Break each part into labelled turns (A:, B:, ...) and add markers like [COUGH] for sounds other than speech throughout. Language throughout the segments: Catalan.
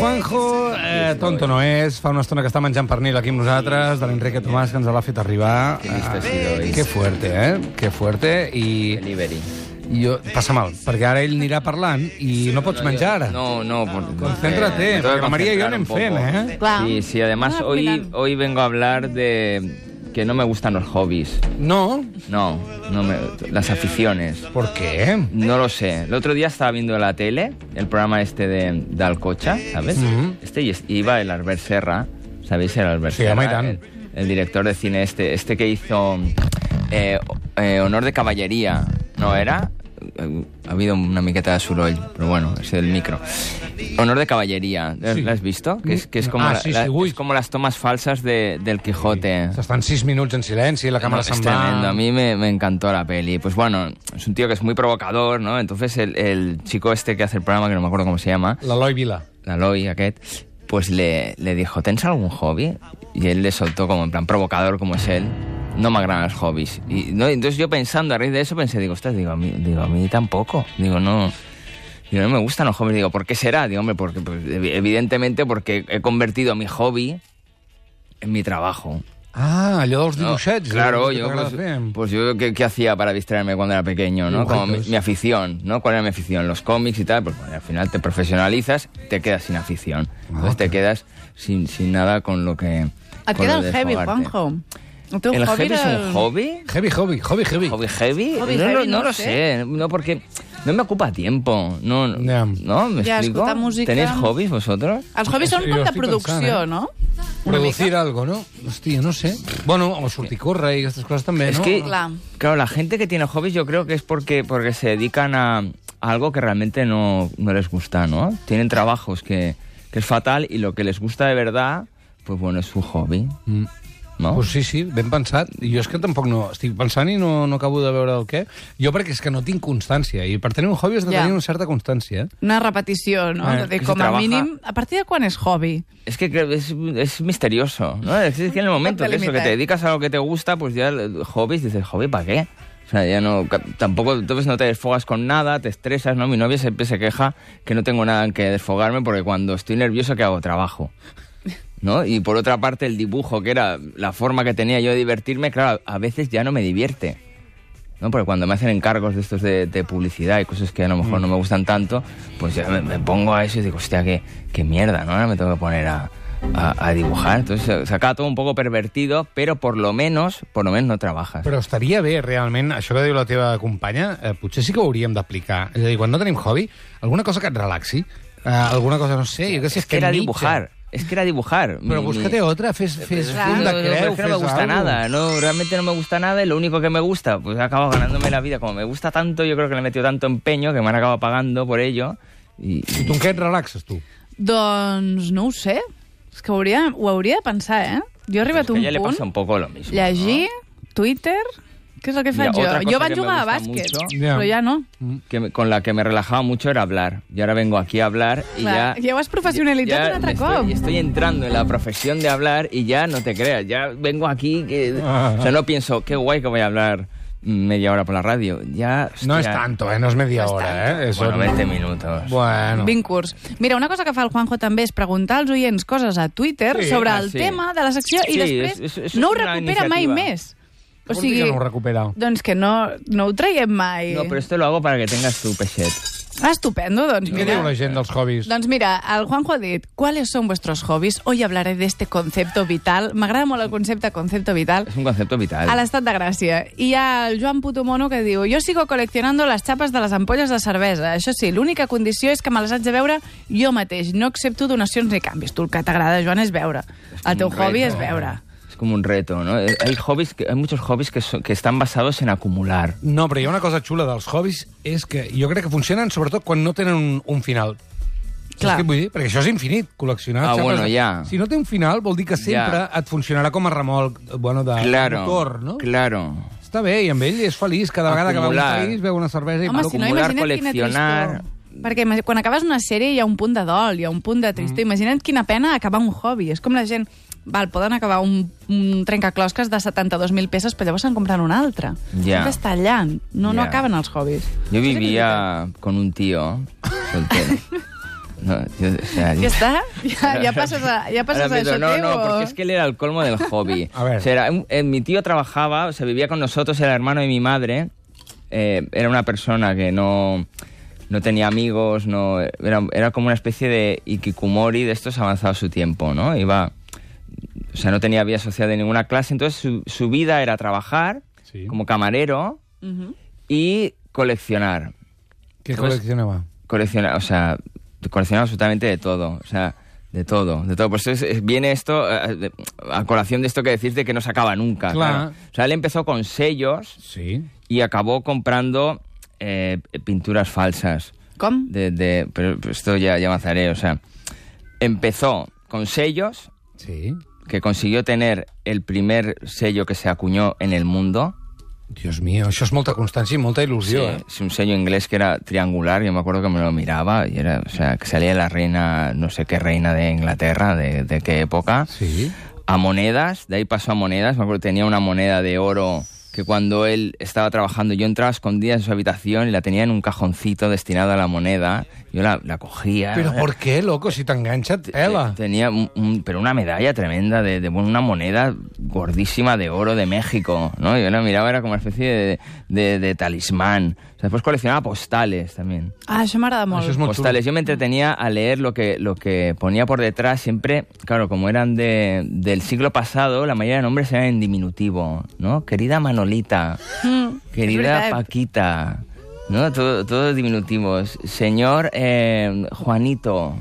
A: Juanjo, eh, tonto no és, fa una estona que està menjant pernil aquí amb nosaltres, de l'Enrique Tomàs, que ens l'ha fet arribar. Ah,
B: Qué tristecida hoy.
A: que fuerte, eh? Que fuerte. I
B: Delivery.
A: jo, passa mal, perquè ara ell anirà parlant i no pots menjar ara.
B: No, no, por-
A: Ah, Concéntrate,
B: me tengo que
A: porque María y yo
B: concentrar
A: no en
B: un poco.
A: fen, ¿eh?
C: Claro.
B: Sí, sí, además
C: Ah,
B: hoy,
C: cuidado.
B: hoy vengo a hablar de que no me gustan los hobbies.
A: No?
B: No, no me, las aficiones.
A: ¿Por qué?
B: No lo sé. El otro día estaba viendo la tele, el programa este de, de Alcocha, ¿sabes?
A: Ujú.
B: Este y es- iba el Albert Serra, ¿sabéis el Albert
A: Sí,
B: Serra?
A: home, i tant.
B: El, el director de cine este, este que hizo eh, eh, Honor de Caballería, ¿no era? Eh, Ha habido una miqueta de suroll, pero bueno, es el micro. Honor de Caballería, ¿la
A: Sí.
B: la has visto? Que es, que es, como,
A: Ah,
B: la-
A: sí,
B: la-
A: sí, ui.
B: es como las tomas falsas de- del Quijote.
A: S'estan sis minuts en silenci, la càmera
B: No,
A: se'n
B: es tremendo.
A: va...
B: A mí me, me encantó la peli. Pues bueno, es un tío que es muy provocador, ¿no? Entonces el, el chico este que hace el programa, que no me acuerdo cómo se llama,
A: L'Eloi Vila.
B: la Loi, aquest, pues le, le dijo, ¿tens algún hobby? Y él le soltó como en plan provocador, como es él. No me agradan los hobbies. Y no, entonces yo pensando a raíz de eso pensé, digo, ostras, digo, a mí, digo, a mí tampoco. Digo, no. Digo, no me gustan los hobbies. Digo, ¿por qué será? Digo, hombre, porque, pues, evi- evidentemente porque he convertido mi hobby en mi trabajo.
A: Ah, allò dels
B: No,
A: dibuixets.
B: Claro,
A: eh, que
B: yo,
A: t'agrada
B: pues,
A: fer.
B: pues yo ¿qué, qué hacía para distraerme cuando era pequeño, ¿no? Como mi,
A: Dibujitos.
B: mi afición, ¿no? ¿Cuál era mi afición? Los cómics y tal, pues bueno, al final te profesionalizas, te quedas sin afición. Entonces te quedas sin, sin nada con lo que...
C: Et
B: con
C: Ah, queda
B: lo
C: el
B: de
C: heavy,
B: desfogarte.
C: Juanjo. El teu
B: ¿El
C: hobby
B: heavy es
C: era
B: un
C: el-
B: hobby?
A: Heavy, hobby, hobby, heavy.
B: ¿Hobby heavy?
C: Hobby
B: no,
C: heavy,
B: no,
C: no
B: lo
C: sé.
B: sé. No, porque no me ocupa tiempo. No, no,
A: Ya.
B: ¿no? ¿Me
C: Ya,
B: explico?
C: escuchar música.
B: ¿Tenéis hobbies vosotros?
C: Els hobbies són
A: Sí,
C: un poc
A: jo
C: de
A: estic
C: producció,
A: pensant, eh?
C: no?
A: Producir algo, no? Hòstia, no sé. Bueno, o sortir a córrer i aquestes coses també,
B: Es
A: no?
B: que,
C: Claro.
B: claro, la gente que tiene hobbies yo creo que es porque, porque se dedican a, a algo que realmente no, no les gusta, ¿no? Tienen trabajos que, que es fatal y lo que les gusta de verdad, pues bueno, es su hobby,
A: Mm.
B: ¿no?
A: Pues sí, sí, ben pensat. Jo és que tampoc no... Estic pensant i no, no acabo de veure el què. Jo perquè és que no tinc constància. I per tenir un hobby has de
C: Ja.
A: tenir una certa constància. eh?
C: Una repetició, no?
A: Eh,
C: Eh, de,
B: que se
C: com a
B: trabaja.
C: mínim... A partir de quan és hobby?
B: Es que creo- es, es misterioso, ¿no? Es que en el momento
C: te
B: que, eso, que
C: limites.
B: te dedicas a lo que te gusta, pues ya el- hobbies, dices, ¿hobby para qué? O sea, ya no, ca- tampoco, entonces no te desfogas con nada, te estresas, ¿no? Mi novia siempre se queja que no tengo nada en que desfogarme porque cuando estoy nervioso, ¿qué hago? Trabajo. ¿No? Y por otra parte, el dibujo, que era la forma que tenía yo de divertirme, claro, a veces ya no me divierte. ¿no? Porque cuando me hacen encargos de estos de, de publicidad y cosas que a lo mejor no me gustan tanto, pues ya me, me pongo a eso y digo, hostia, qué, qué mierda, ¿no? Ahora me tengo que poner a, a- a dibujar. Entonces se, se acaba todo un poco pervertido, pero por lo menos, por lo menos no trabajas.
A: Però estaria bé, realment, això que diu la teva companya, eh, potser sí que ho hauríem d'aplicar. És a dir, quan no tenim hobby, alguna cosa que et relaxi, eh, alguna cosa, no sé, jo què sé,
B: es que
A: fer
B: era
A: mitja.
B: dibujar, es que era dibujar. Mi-
A: Però
B: mi-
A: búscate otra, fes, fes
C: Claro.
A: un de
B: No, no,
A: creu,
B: es que no me
A: fes
B: gusta
A: algo.
B: nada, no, realmente no me gusta nada y lo único que me gusta, pues he acabado ganándome la vida. Como me gusta tanto, yo creo que le he metido tanto empeño que me han acabado pagando por ello. Y,
A: I tu en què et relaxes, tu?
C: Doncs no ho sé. És que hauria, ho hauria de pensar, eh? Jo he arribat
B: Pues que
C: a un
B: ya le pasa
C: punt...
B: un poco lo mismo.
C: Llegir, Twitter... Què és el que
B: Mira,
C: faig jo?
B: otra cosa
C: Jo vaig
B: que me
C: jugar a
B: gusta
C: bàsquet,
B: mucho.
A: Ja.
C: però ja no.
B: que me- con la que me relajaba mucho era hablar. Y ahora vengo aquí a hablar y
C: Clar,
B: ya...
C: ja ho has professionalitzat un
B: me
C: altre
B: estoy,
C: cop.
B: y estoy entrando en la profesión de hablar y ya no te creas, ya vengo aquí que... O sea, no pienso, qué guay que voy a hablar media hora por la radio. Ya...
A: No és
B: hostia,
A: tanto, eh? No és media
C: No és
A: hora,
C: tanto.
A: eh? És
B: Bueno,
A: un-
B: 20 minutos.
A: Bueno.
C: 20 curts. Mira, una cosa que fa el Juanjo també és preguntar als oients coses a Twitter
A: Sí,
C: sí, sobre
B: ah,
C: el
B: sí.
C: tema de la secció
B: Sí,
C: i després
B: és- és- és
C: no ho
B: una
C: recupera mai
B: iniciativa.
C: més. O
A: Vol dir
C: sigui,
A: que no ho recupera.
C: doncs que no, no ho traiem mai.
B: No, pero esto lo hago para que tengas tu pechet.
C: Ah, estupendo, doncs
A: Què diu
C: mira.
A: la gent dels hobbies?
C: Doncs mira, el Juanjo ha dit ¿Cuáles son vuestros hobbies? Hoy hablaré de este concepto vital. M'agrada molt el concepte concepto vital.
B: Es un concepto vital.
C: A l'estat de Gràcia. I hi ha el Joan Putomono que diu Jo sigo coleccionando les xapes de les ampolles de cervesa. Això sí, l'única condició és que me les haig de veure jo mateix. No accepto donacions ni canvis. Tu el que t'agrada, Joan, és veure. El teu
B: un
C: hobby
B: reto.
C: és veure.
B: Es como un reto, ¿no? Eh, Hay, hobbies que- hay muchos hobbies que, so- que están basados en acumular.
A: No, però hi ha una cosa xula dels hobbies, és que jo crec que funcionen sobretot quan no tenen un, un final. Saps
C: Clar.
A: què et vull dir? Perquè això és infinit, col·leccionar.
B: Ah,
A: xapes
B: bueno,
A: de-
B: ja.
A: Si no té un final, vol dir que sempre
B: Ja.
A: et funcionarà com a remolc, eh, bueno, de
B: Claro.
A: motor, no?
B: Claro.
A: Està bé, i amb ell és feliç. Cada vegada que va a
B: Acumular.
A: un país, veu una cervesa i
C: Home,
A: parla
C: si no,
A: com-
B: acumular,
C: imagina't quina
B: col·leccionar.
C: tristor. Perquè imagi- quan acabes una sèrie hi ha un punt de dol, hi ha un punt de tristor. Mm. Imagina't quina pena acabar un hobby. És com la gent... Val, poden acabar un, un trencaclosques de 72.000 peces, però llavors se'n compren un altre.
B: Ja.
C: Sempre està allà. No, no
B: Ja.
C: acaben els hobbies.
B: Yo
C: Sí que és
B: vivía con un tío soltero. No, yo- o sea, yo-
C: Ja està? Ja,
B: [LAUGHS]
C: ja passes a, ja passes
B: Ahora
C: a
B: me digo,
C: això
B: no,
C: teu?
B: no,
C: o-
B: porque es que él era el colmo del hobby.
A: [LAUGHS] A ver.
B: O sea, era un- eh, mi tío trabajaba, o sea, vivía con nosotros, era hermano de mi madre. eh, era una persona que no, no tenía amigos, no era, era como una especie de ikikumori de estos avanzados a su tiempo, ¿no? Iba, o sea, no tenía vida social de ninguna clase, entonces su, su vida era trabajar
A: Sí.
B: como camarero
C: Mhm.
B: y coleccionar
A: Què
B: Doncs-
A: col·leccionava?
B: coleccionar, o sea, coleccionar absolutamente de todo, o sea, de todo, de todo. Por eso es- es- viene esto eh, de- a colación de esto que decís de que no se acaba nunca.
A: Claro.
B: O sea, él empezó con sellos
A: Sí.
B: y acabó comprando eh, pinturas falsas.
C: Com?
B: De, de- pero esto ya, ya avanzaré, o sea, empezó con sellos
A: Sí.
B: que consiguió tener el primer sello que se acuñó en el mundo.
A: Dios mío, això és molta constància i molta il·lusió,
B: Sí,
A: eh?
B: es un sello inglés que era triangular, yo me acuerdo que me lo miraba y era, o sea, que salía la reina, no sé qué reina de Inglaterra, de, de qué época,
A: eh? Sí.
B: a monedas, de ahí pasó a monedas, me acuerdo que tenía una moneda de oro que cuando él estaba trabajando yo entraba escondida en su habitación y la tenía en un cajoncito destinado a la moneda, yo la, la cogía. ¿eh?
A: Però per què, loco? Si t'enganxa, et pela.
B: Tenía un- un- pero una medalla tremenda de, de, bueno, una moneda gordísima de oro de México, ¿no? Yo la miraba, era como una especie de, de- de talismán. O sea, después coleccionaba postales también.
C: Ah, això m'agrada molt.
A: Això és molt xulo.
B: Postales. Yo me entretenía a leer lo que, lo que ponía por detrás siempre, claro, como eran de, del siglo pasado, la mayoría de nombres eran en diminutivo, ¿no? Querida Manolita,
C: Mm, és
B: querida
C: veritat.
B: Paquita, ¿no? Todo, todo diminutivos. Señor eh, Juanito.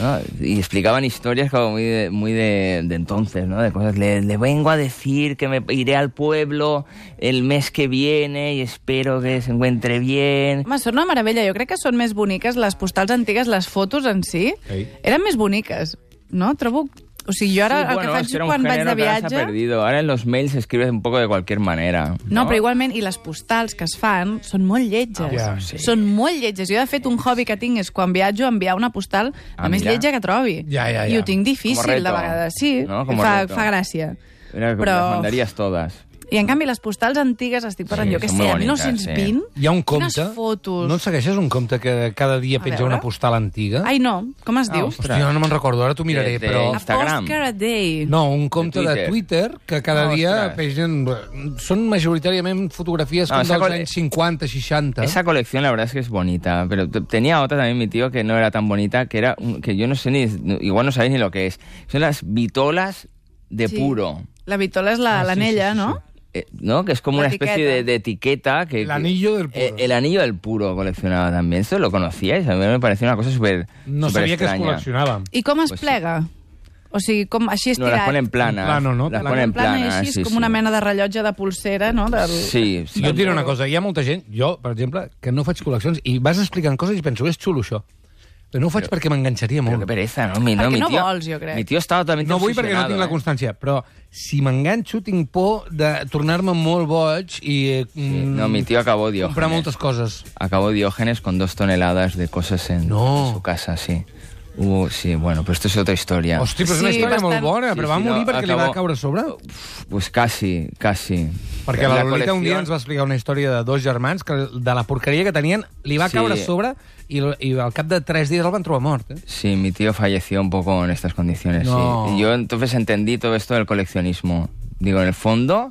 B: ¿no? Y explicaban historias como muy de, muy de, de entonces, ¿no? De cosas. Le, le vengo a decir que me iré al pueblo el mes que viene y espero que se encuentre bien.
C: Home, són una meravella. Jo crec que són més boniques les postals antigues, les fotos en si.
A: Ei.
C: Eren més boniques, no? Trobo... O sigui, jo ara
B: Sí,
C: el
B: bueno,
C: que
B: es que
C: faig
B: era un
C: quan vaig
B: género
C: de
B: que ahora se ha
C: viatge...
B: perdido. Ahora en los mails se escribe un poco de cualquier manera.
C: No, però igualment, i les postals que es fan són molt lletges.
A: Ah, bueno, sí.
C: Són molt lletges. Jo, de fet, un hobby que tinc és quan viatjo enviar una postal a
B: Ah,
C: més
B: mira.
C: lletja que trobi.
A: Ja, ja, ja.
C: I ho tinc
B: Com a
C: difícil,
B: reto.
C: de vegades. Sí,
B: No? Com a
C: fa,
B: reto.
C: fa gràcia.
B: Era que
C: Però-
B: las mandarías todas.
C: I, en canvi, les postals antigues, estic parlant,
B: Sí,
C: jo que
B: són
C: sé,
B: molt
C: del
B: boniques,
C: 1920...
A: Hi ha un compte...
C: Quines fotos...
A: No en segueixes un compte que cada dia
C: A
A: penja
C: veure.
A: una postal antiga?
C: Ai, no, com es
A: Ah,
C: diu?
A: Hòstia, no me'n recordo, ara t'ho miraré,
B: De- de
A: però...
C: A
B: Instagram.
C: Postcard a day.
A: No, un compte de
B: Twitter.
A: Twitter, que cada
B: Ah,
A: dia
B: ostres. Ah,
A: pengen... Són majoritàriament fotografies
B: No,
A: com
B: esa
A: dels
B: col-
A: anys 50, 60.
B: Esa colección la verdad es que es bonita, pero t- tenía otra también mi tío que no era tan bonita, que era un- que yo no sé ni igual no sabéis ni lo que es. Son las vitolas de
C: Sí.
B: puro.
C: La vitola és la-
A: Ah, sí,
C: l'anella,
A: sí, sí,
C: no?
B: eh, ¿no? Que es como
C: La
B: una especie
C: etiqueta.
B: de, de etiqueta. Que,
A: El anillo del puro.
B: Eh, el anillo del puro coleccionaba también. ¿Esto lo conocíais? A mí me pareció una cosa súper
A: No
B: súper
A: sabia que es
B: extraña.
A: col·leccionava.
C: I com es
B: Pues sí.
C: plega? O sigui, com així
B: No, las
C: estirat?
B: ponen planas.
A: plano, ¿no?
B: Las
A: Plano.
B: ponen
C: plana,
B: planas,
C: així,
B: sí,
C: és com
B: sí.
C: una mena de rellotge de pulsera, no? Del...
B: Sí, sí.
A: Jo et diré una cosa, hi ha molta gent, jo, per exemple, que no faig col·leccions, i vas explicant coses i penso, és xulo això. Però no ho faig però, perquè m'enganxaria
B: Pero
A: molt.
B: qué pereza, ¿no? Mi,
C: Perquè
B: mi
C: no
B: tío,
C: vols, jo crec.
B: Mi tío estaba totalmente
A: No vull perquè no
B: obsesionado,
A: tinc la
B: eh.
A: constància, però si m'enganxo tinc por de tornar-me molt boig i... Eh,
B: Sí, No, mi tío acabó
A: Comprar
B: Diógenes.
A: moltes coses.
B: Acabó Diógenes con dos toneladas de cosas en
A: No.
B: su casa, sí. Hubo, sí, bueno, pero esto es otra historia.
A: Hosti, però és una
C: Sí,
A: història molt
C: bastant.
A: bona,
B: Sí,
A: però
B: sí,
A: va
B: no,
A: morir perquè li va
B: acabó-
A: caure a sobre?
B: Pues casi, casi.
A: Perquè la Lolita
B: colección-
A: un dia ens va explicar una història de dos germans que de la porqueria que tenien li va
B: Sí.
A: caure a sobre i, i al cap de tres dies el van trobar mort. Eh?
B: Sí, mi tío falleció un poco en estas condiciones.
A: No.
B: sí. Y yo entonces entendí todo esto del coleccionismo. Digo, en el fondo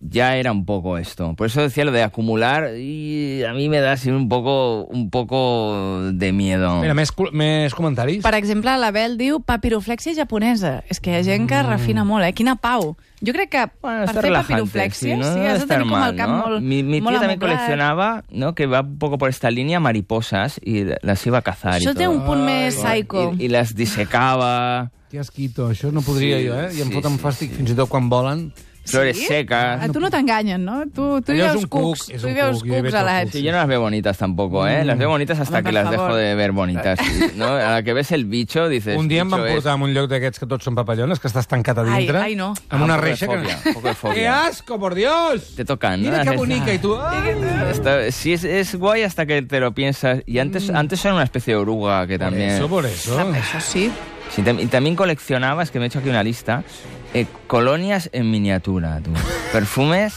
B: ya era un poco esto. Por eso decía lo de acumular y a mí me da así un poco, un poco de miedo.
A: Mira, més, col- més comentaris?
C: Per exemple, l'Abel diu papiroflexia japonesa. És que hi ha gent que refina molt, eh? Quina pau. Jo crec que
B: Mm. Bueno,
C: per
B: está
C: fer
B: relajante,
C: papiroflexia
B: sí, no
C: sí,
B: debe
C: has de
B: estar
C: tenir com
B: mal,
C: el cap
B: ¿no?
C: molt,
B: Mi, mi tío
C: molt
B: también
C: amoblat.
B: coleccionaba, ¿no? Que va un poco por esta línea mariposas y las iba a cazar y
C: Això té
B: todo.
C: un punt més psycho.
B: Y, y las disecaba,
A: Tia esquito, això no podria
B: Sí,
A: jo, eh? I em
B: sí,
A: foten
B: sí,
A: fàstic fins i tot quan volen.
B: flores secas.
C: A tu no t'enganyen, no? Tu, tu hi
A: Allò és
C: veus
A: un cuc,
C: cucs,
A: és
C: tu
A: un
C: hi veus
A: cuc, jo hi veig
C: cucs
A: el
C: a l'Eds.
A: cuc.
B: Sí, yo no las veo bonitas tampoco, ¿eh? Las veo bonitas hasta
C: Mm. Hombre,
B: que las
C: por favor.
B: dejo de ver bonitas. No, a la que ves el bicho dices...
A: Un dia em van
B: "Bicho eh, es".
A: portar a un lloc d'aquests que tots són papallones, que estàs tancat a dintre.
C: Ai, ai, no.
A: Amb
B: Ah,
A: una
B: un poco de
A: reixa que...
B: fòbia, un poco de
A: [LAUGHS]
B: fòbia.
A: Que asco, por Dios!
B: Te tocan, ¿no?
A: Mira que
B: Haces-
A: bonica, i tu... Ah!
B: Está- sí, es, es guay hasta que te lo piensas. Y antes,
C: Mm.
B: antes era una especie de oruga que
A: Por
B: también...
A: eso, por eso.
C: Això sí.
B: Sí, tam- y también coleccionabas, que me he hecho aquí una lista, eh, colonias en miniatura, tú. Perfumes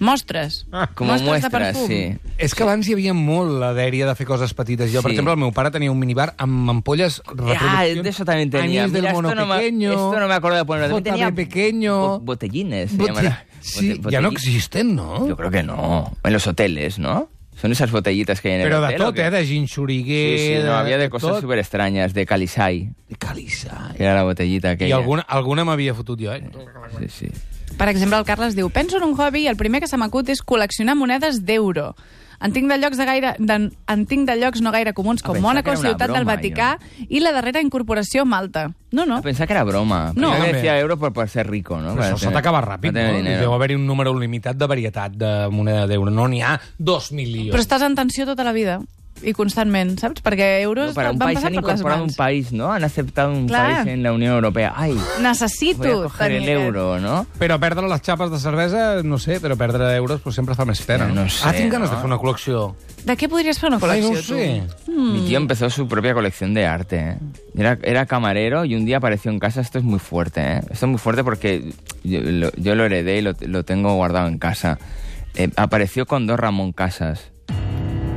C: Mostres.
A: Ah,
B: Como
C: mostres de
B: muestra,
C: perfum.
B: sí.
A: És que abans hi havia molt la dèria de fer coses petites. Jo, per
B: Sí.
A: exemple, el meu pare tenia un minibar amb ampolles
B: Ah,
A: reproduccions.
B: de eso también tenía.
A: Anís del
B: Mira,
A: mono
B: esto, no me,
A: pequeño.
B: esto no me acuerdo de ponerlo.
A: JB
B: También tenía
A: pequeño.
B: bo- Botellines, se
A: Bote-
B: llaman.
A: Sí,
B: Bote-
A: ja no
B: botelli-
A: existen, no?
B: Yo creo que no. En los hoteles, ¿no? Son esas botellitas que hay en el
A: Però de
B: hotel. ¿o
A: tot,
B: qué?
A: eh? De ginxuriguer...
B: Sí, sí, no, había de cosas
A: tot.
B: súper extrañas, de calisay,
A: De calissa.
B: que era la botellita
A: I
B: aquella.
A: alguna, alguna m'havia fotut jo, eh?
B: Sí, sí.
C: Per exemple, el Carles diu, penso en un hobby i el primer que se m'acut és col·leccionar monedes d'euro. En tinc, de llocs de gaire, de, en tinc de llocs no gaire comuns
B: Ah,
C: com
B: pensava que
C: Mònaco,
B: era una
C: Ciutat del
B: broma,
C: Vaticà i la darrera incorporació Malta. No, no.
B: Ah, Pensaba que era broma.
C: No.
B: Pensaba que
A: Hombre.
B: decía euro por, por ser rico, ¿no?
A: Però
B: Para
A: això s'ha
B: tener-
A: d'acabar ràpid,
B: para tener
A: no?
B: dinero.
A: Deu haver-hi un número limitat de varietat de moneda d'euro. No n'hi ha dos milions.
C: Però estàs en tensió tota la vida i constantment, saps? Perquè euros
B: No, para un
C: van
B: país han
C: passant per les
B: incorporado un
C: mans.
B: país, ¿no? Han aceptado un
C: Claro.
B: país en la Unión Europea. ¡Ay! Voy a
C: Necessito
B: coger el
C: aquest.
B: euro, ¿no?
A: Però perdre les xapes de cervesa, no sé, però perdre euros pues, sempre fa més pena.
B: Ja no sé,
A: ah, tinc ganes
B: no?
A: de fer una col·lecció.
C: De què podries fer una
A: Ai,
C: col·lecció,
A: no ho sé.
C: tu?
B: Mi tío empezó su propia colección de arte. ¿eh? Era, era camarero y un día apareció en casa. Esto es muy fuerte. ¿eh? Esto es muy fuerte porque yo lo, yo lo heredé y lo, lo tengo guardado en casa. Eh, apareció con dos Ramón Casas.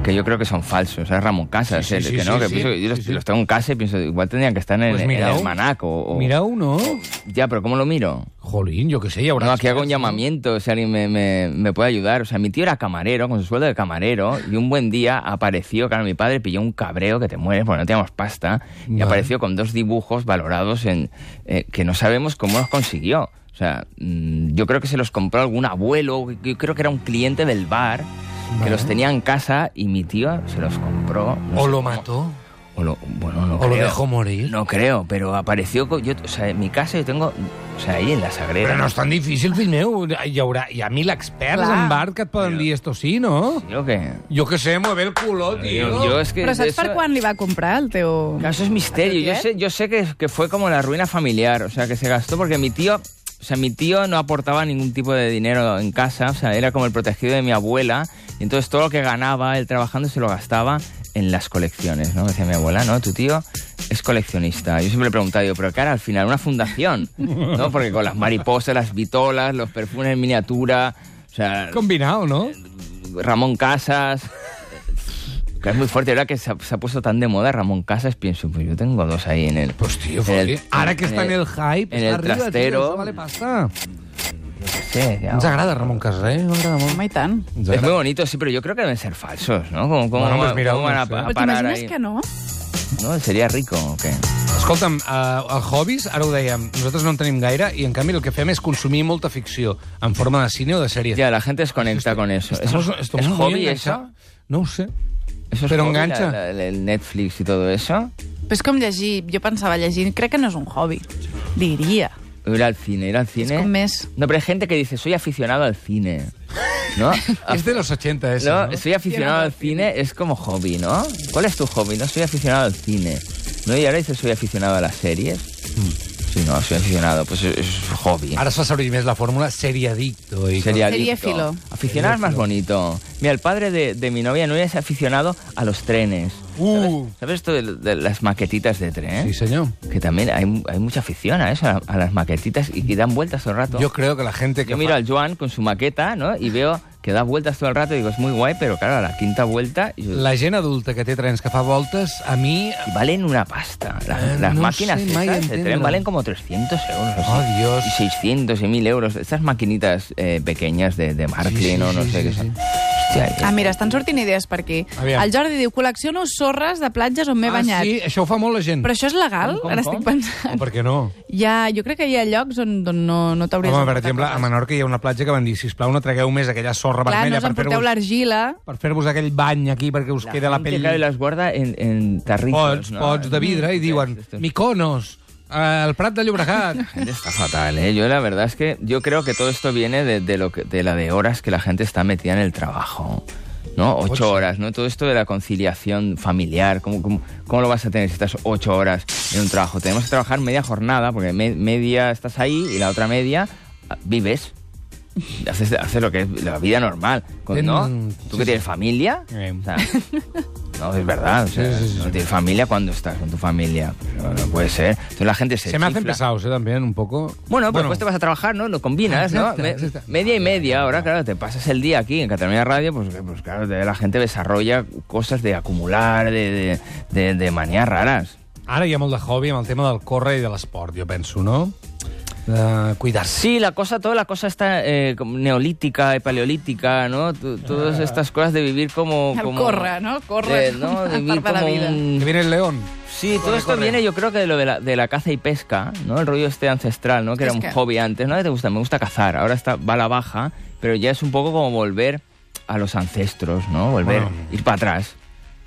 B: Que yo creo que son falsos, es Ramón Casas,
A: Sí, sí,
B: el
A: sí,
B: que no,
A: sí,
B: que
A: sí.
B: pienso que yo los,
A: Sí, sí.
B: los tengo en casa y pienso, igual tendrían que estar en,
A: Pues
B: el- en
A: mireu.
B: el manaco. O,
A: Mireu, no?
B: Ya, pero ¿cómo lo miro?
A: Jolín, jo què sé, hi haurà...
B: No, aquí hago un
A: experts,
B: llamamiento, si alguien me, me- me puede ayudar. O sea, mi tío era camarero, con su sueldo de camarero, y un buen día apareció, claro, mi padre pilló un cabreo que te mueres porque no teníamos pasta, y
A: Vale.
B: apareció con dos dibujos valorados en eh, que no sabemos cómo los consiguió. O sea, mm, yo creo que se los compró algún abuelo, yo creo que era un cliente del bar, que los tenía en casa y mi tío se los compró. no
A: O
B: sé
A: lo
B: cómo.
A: mató.
B: O lo, bueno, no
A: O lo
B: creo.
A: dejó morir.
B: No creo, pero apareció. co- Yo, o sea, en mi casa yo tengo. O sea, ahí en la sagrera.
A: Però no és tan difícil, fill meu. Hi haurà, hi ha mil experts
C: Clar.
A: en bar que et poden dir esto sí, no?
B: Yo qué.
A: Jo què sé, mueve el culo, tio.
B: Yo, yo es que
C: Però saps
B: eso-
C: per quan li va comprar el teu...
B: Claro, Eso es misterio.
C: ¿A
B: Yo
C: tu
B: sé, yo sé que, que fue como la ruina familiar, o sea, que se gastó porque mi tío, o sea, mi tío no aportaba ningún tipo de dinero en casa, o sea, era como el protegido de mi abuela, y entonces todo lo que ganaba él trabajando se lo gastaba en las colecciones, ¿no? Decía mi abuela, ¿no? Tu tío es coleccionista. Yo siempre le preguntaba, digo, pero ¿qué hará al final? Una fundación, ¿no? Porque con las mariposas, las vitolas, los perfumes en miniatura, o sea...
A: Combinado, no?
B: Ramón Casas. Que es muy fuerte, ahora que se ha, se ha puesto tan de moda Ramón Casas, pienso, pues yo tengo dos ahí en el...
A: Pues tío,
B: en el-
A: Foli, ara que està en el hype,
B: en
A: està
B: el
A: arriba, tio,
B: trastero.
A: això vale pasta.
B: Sí, ya.
A: Ens agrada Ramon Casas, eh? Ens agrada molt.
C: Home, i tant.
A: Ens
B: Es muy
A: agrada.
B: bonito, sí, pero yo creo que deben ser falsos, ¿no? Como, como,
A: Bueno, pues mira,
B: cómo van
A: no
B: a,
A: sé.
B: pa- a
C: Però
B: parar
C: t'imagines
B: ahí.
C: que no?
B: No, sería rico, ¿o qué?
A: Escolta'm, eh, el hobbies, ara ho dèiem, nosaltres no en tenim gaire i, en canvi, el que fem és consumir molta ficció en forma de cine o de sèrie.
B: Ya, la gente desconecta con eso. Eso
A: Estamos,
B: es,
A: estamos
B: es
A: muy
B: hobby
A: enganchados.
B: eso.
A: No ho sé.
B: Eso es
A: Pero
B: hobby, la-
A: engancha.
B: la- la- el Netflix y todo eso.
C: Però és com llegir, jo pensava llegir, crec que no és un hobby. Diria.
B: Ir al cine, ir al cine.
C: com més.
B: No, pero hay gente que dice, soy aficionado al cine.
C: [LAUGHS]
B: ¿No?
A: És de los 80, ese,
B: No,
A: no?
B: soy aficionado al cine, es como hobby, ¿no? ¿Cuál es tu hobby? No, soy aficionado al cine. No, y ahora dices soy aficionado a las series.
A: Hmm.
B: Sí, no, soy aficionado, pues es, es hobby.
A: Ara es fa servir més la fórmula seriadicto. I
B: Seriadicto.
C: Seriéfilo.
B: Aficionado es más bonito. Mira, el padre de, de mi novia no es aficionado a los trenes.
A: Uh.
B: ¿Sabes esto de, de las maquetitas de tren?
A: Sí, senyor.
B: Que también hay, mu- hay mucha afición a eso, a, a las maquetitas y que dan vueltas todo el rato.
A: Jo creo que la gente que
B: Yo miro
A: fa...
B: al Joan con su maqueta, ¿no? Y veo que da vueltas todo el rato y digo, es muy guay, pero claro, a la quinta vuelta... yo-
A: La gent adulta que té trens que fa voltes, a mi...
B: Y valen una pasta. Las,
A: Eh,
B: las
A: no
B: máquinas
A: sé, Maya,
B: estas de
A: entiendo.
B: tren valen como 300 euros.
A: Oh,
B: sí.
A: Dios.
B: Y 600 y 1000 euros. Estas maquinitas eh, pequeñas de, de Marklin
A: Sí, sí,
B: o no
A: sí,
B: sé
A: sí,
B: qué
A: sí.
B: son. Hostia, eh,
C: Ah, mira, estan sortint idees per aquí.
A: Aviam.
C: El Jordi diu, col·lecciono sorres de platges on m'he
A: Ah,
C: banyat.
A: sí, això ho fa molt la gent.
C: Però això és legal?
B: Com, com,
C: Ara
B: com?
A: O
C: estic pensant.
A: per què
C: [LAUGHS]
A: no?
C: Hi ha, jo crec que hi ha llocs on, on no, no t'hauries
A: Home, per
C: d'emportar
A: exemple,
C: coses.
A: a Menorca hi ha una platja que van dir, sisplau, no tragueu més aquella sorra
C: Clar, no
A: vermella
C: us
A: per
C: emporteu
A: fer-vos
C: l'argila.
A: per fer-vos aquell bany aquí perquè us queda la
B: gente,
A: pell...
B: claro, y las guarda en, en tarritos,
A: Pots,
B: ¿no?
A: pots de vidre i diuen
B: Esto- esto-
A: Miconos, eh, el Prat de Llobregat...
B: La gente Está fatal, ¿eh? Yo la verdad es que yo creo que todo esto viene de, de lo que, de la de horas que la gente está metida en el trabajo, ¿no?
A: Ocho.
B: Ocho horas, ¿no? Todo esto de la conciliación familiar, ¿cómo, cómo, cómo lo vas a tener si estás ocho horas en un trabajo? Tenemos que trabajar media jornada, porque me- media estás ahí y la otra media ah, vives. Haces, haces lo que es la vida normal, con- ¿no?
A: Mm,
B: Tú
A: sí,
B: que tienes familia,
A: Eh.
B: O sea, No, es verdad. o sea,
A: Sí, sí, sí,
B: no
A: sí.
B: tienes familia cuando estás con tu familia. No, no puede ser. Entonces la gente [LAUGHS] se.
A: Se me hacen
B: chifla.
A: pesados, eh, también, un poco.
B: Bueno, pero después te vas a trabajar, ¿no? Lo combinas, ¿no?
A: Exacto,
B: Me-
A: exacto.
B: Media y media. Ahora, claro, te pasas el día aquí en Cataluña Radio, pues, que- pues claro, te- la gente desarrolla cosas de acumular, de, de, de- de manías raras.
A: Ara hi ha molt de hobby amb el tema del córrer i de l'esport, jo penso, no? De cuidar-se.
B: Sí, la cosa, toda la cosa está eh, como neolítica y paleolítica, ¿no? Tu- Todas estas cosas de vivir como...
C: El
B: como-
C: corre, ¿no? Corre
B: Eh,
C: [LAUGHS]
B: ¿no?
C: una
B: De vivir
C: parte de la
B: como
C: vida.
B: un-
A: Que viene el león.
B: Sí, todo esto viene yo creo que de lo de la, de la caza y pesca, ¿no? El rollo este ancestral, ¿no? Que era
C: Es
B: un
C: que-
B: hobby antes, ¿no? Que te gusta, me gusta cazar, ahora está, va a la baja, pero ya es un poco como volver a los ancestros, ¿no? Volver,
A: Bueno.
B: ir para atrás,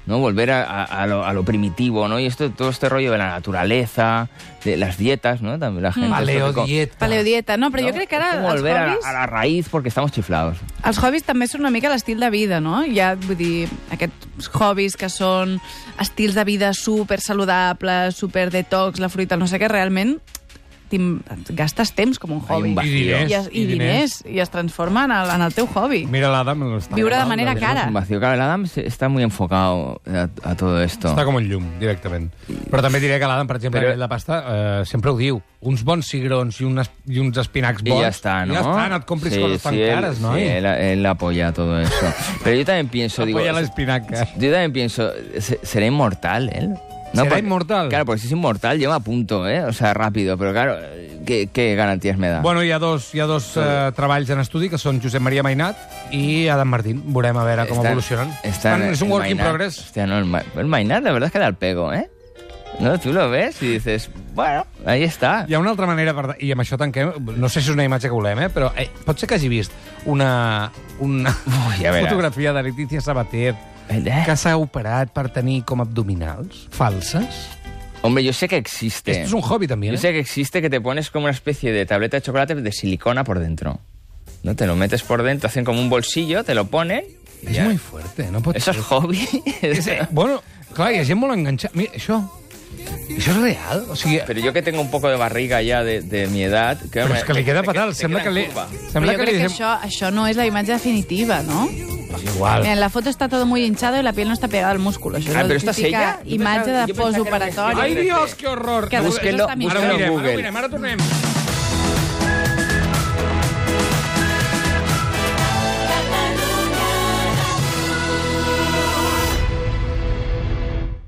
B: ¿no? Volver a, a- a lo, a lo primitivo, ¿no? Y esto, todo este rollo de la naturaleza, de las dietas, ¿no? También
C: Hmm.
B: la gente... esto que co-
A: Paleodieta.
C: Paleodieta. No, però
B: ¿no?
C: jo crec que
B: Es
C: ara
B: como
C: els
B: volver a la-
C: hobbies...
B: a la raíz porque estamos chiflados.
C: Els hobbies també són una mica l'estil de vida, no? Hi ha, vull dir, aquests hobbies que són estils de vida super saludables, super detox, la fruita, el no sé què, realment t'im- gastes temps com un hobby.
B: un
A: I
B: vacío.
A: diners.
C: I, es, i, diners, i es transforma en el, en el teu hobby.
A: Mira l'Adam. l'està
C: Viure de
A: agradant,
C: manera
A: la
C: cara.
B: Es un vacío. Claro, el Adam se- está muy enfocado a, a todo esto.
A: Està com un llum, directament. Però també diré que l'Adam, per exemple,
B: Però-
A: Però... la pasta, eh, sempre ho diu. Uns bons cigrons i, unes, i uns espinacs
B: Y
A: bons.
B: ya está, ¿no?
A: Ja està, no et compris
B: Sí,
A: coses tan
B: sí, él-
A: cares, no?
B: sí, él, él apoya todo eso.
A: [LAUGHS]
B: Pero yo también pienso, digo,
A: Apoya
B: yo
A: l'espinaca.
B: también pienso, ¿se- ¿será inmortal él?
A: ¿Será
B: porque-
A: inmortal?
B: Claro, porque si es inmortal lleva a punto, ¿eh? O sea, rápido, pero claro, ¿qué, qué garantías me da?
A: Bueno, hi ha dos, hi ha dos eh, treballs en estudi, que són Josep Maria Mainat i Adam Martín. Veurem a veure com
B: Está-
A: evolucionen.
B: está en-
A: Estan- és un
B: en
A: work in
B: Mainat.
A: progress.
B: Hostia, no, el, Ma- el Mainat la verdad es que da el pego, ¿eh? No, tú lo ves y dices, bueno, ahí está.
A: Hi ha una altra manera, per... i amb això tanquem, no sé si és una imatge que volem, eh? però eh, pot ser que hagi vist una, una
B: Ui, ja veuràs.
A: fotografía de Leticia Sabater
B: Eh,
A: que s'ha operat per tenir com abdominals falses.
B: Hombre, yo sé que existe.
A: Esto es un hobby también,
B: Yo
A: ¿eh?
B: sé que existe que te pones como una especie de tableta de chocolate de silicona por dentro. ¿No? Te lo metes por dentro, hacen como un bolsillo, te lo ponen. y
A: És
B: ya.
A: molt fuerte, no pot
B: Eso es
A: ser. eh,
B: hobby.
A: Bueno, clar, hi ha gent molt enganxada. Mira, això... Això és real? O sigui,
B: Pero yo que tengo un poco de barriga ya de, de mi edad... Que
A: però
B: me-
A: és que li queda fatal.
B: te
A: Sembla
B: queda
A: que li...
B: en curva.
C: Però
A: Sembla
C: jo
A: que li...
C: crec que
A: deixem-
C: això, això no és la imatge definitiva, no?
A: És igual.
C: Mira, en la foto está todo muy hinchado y la piel no está pegada al músculo. Això
B: Ah,
C: és
B: però
C: la
B: esta
C: típica
B: és ella? Jo
C: imatge
B: pensava- jo pensava
C: de
B: que era
C: postooperatori.
B: una
A: Ai, Dios, que horror!
C: eh, Que
A: No,
B: Búsquenlo,
C: Eso está
A: Ara ho
B: búsquenlo en
A: mirem, ara ho
B: Google.
A: mirem, ara tornem.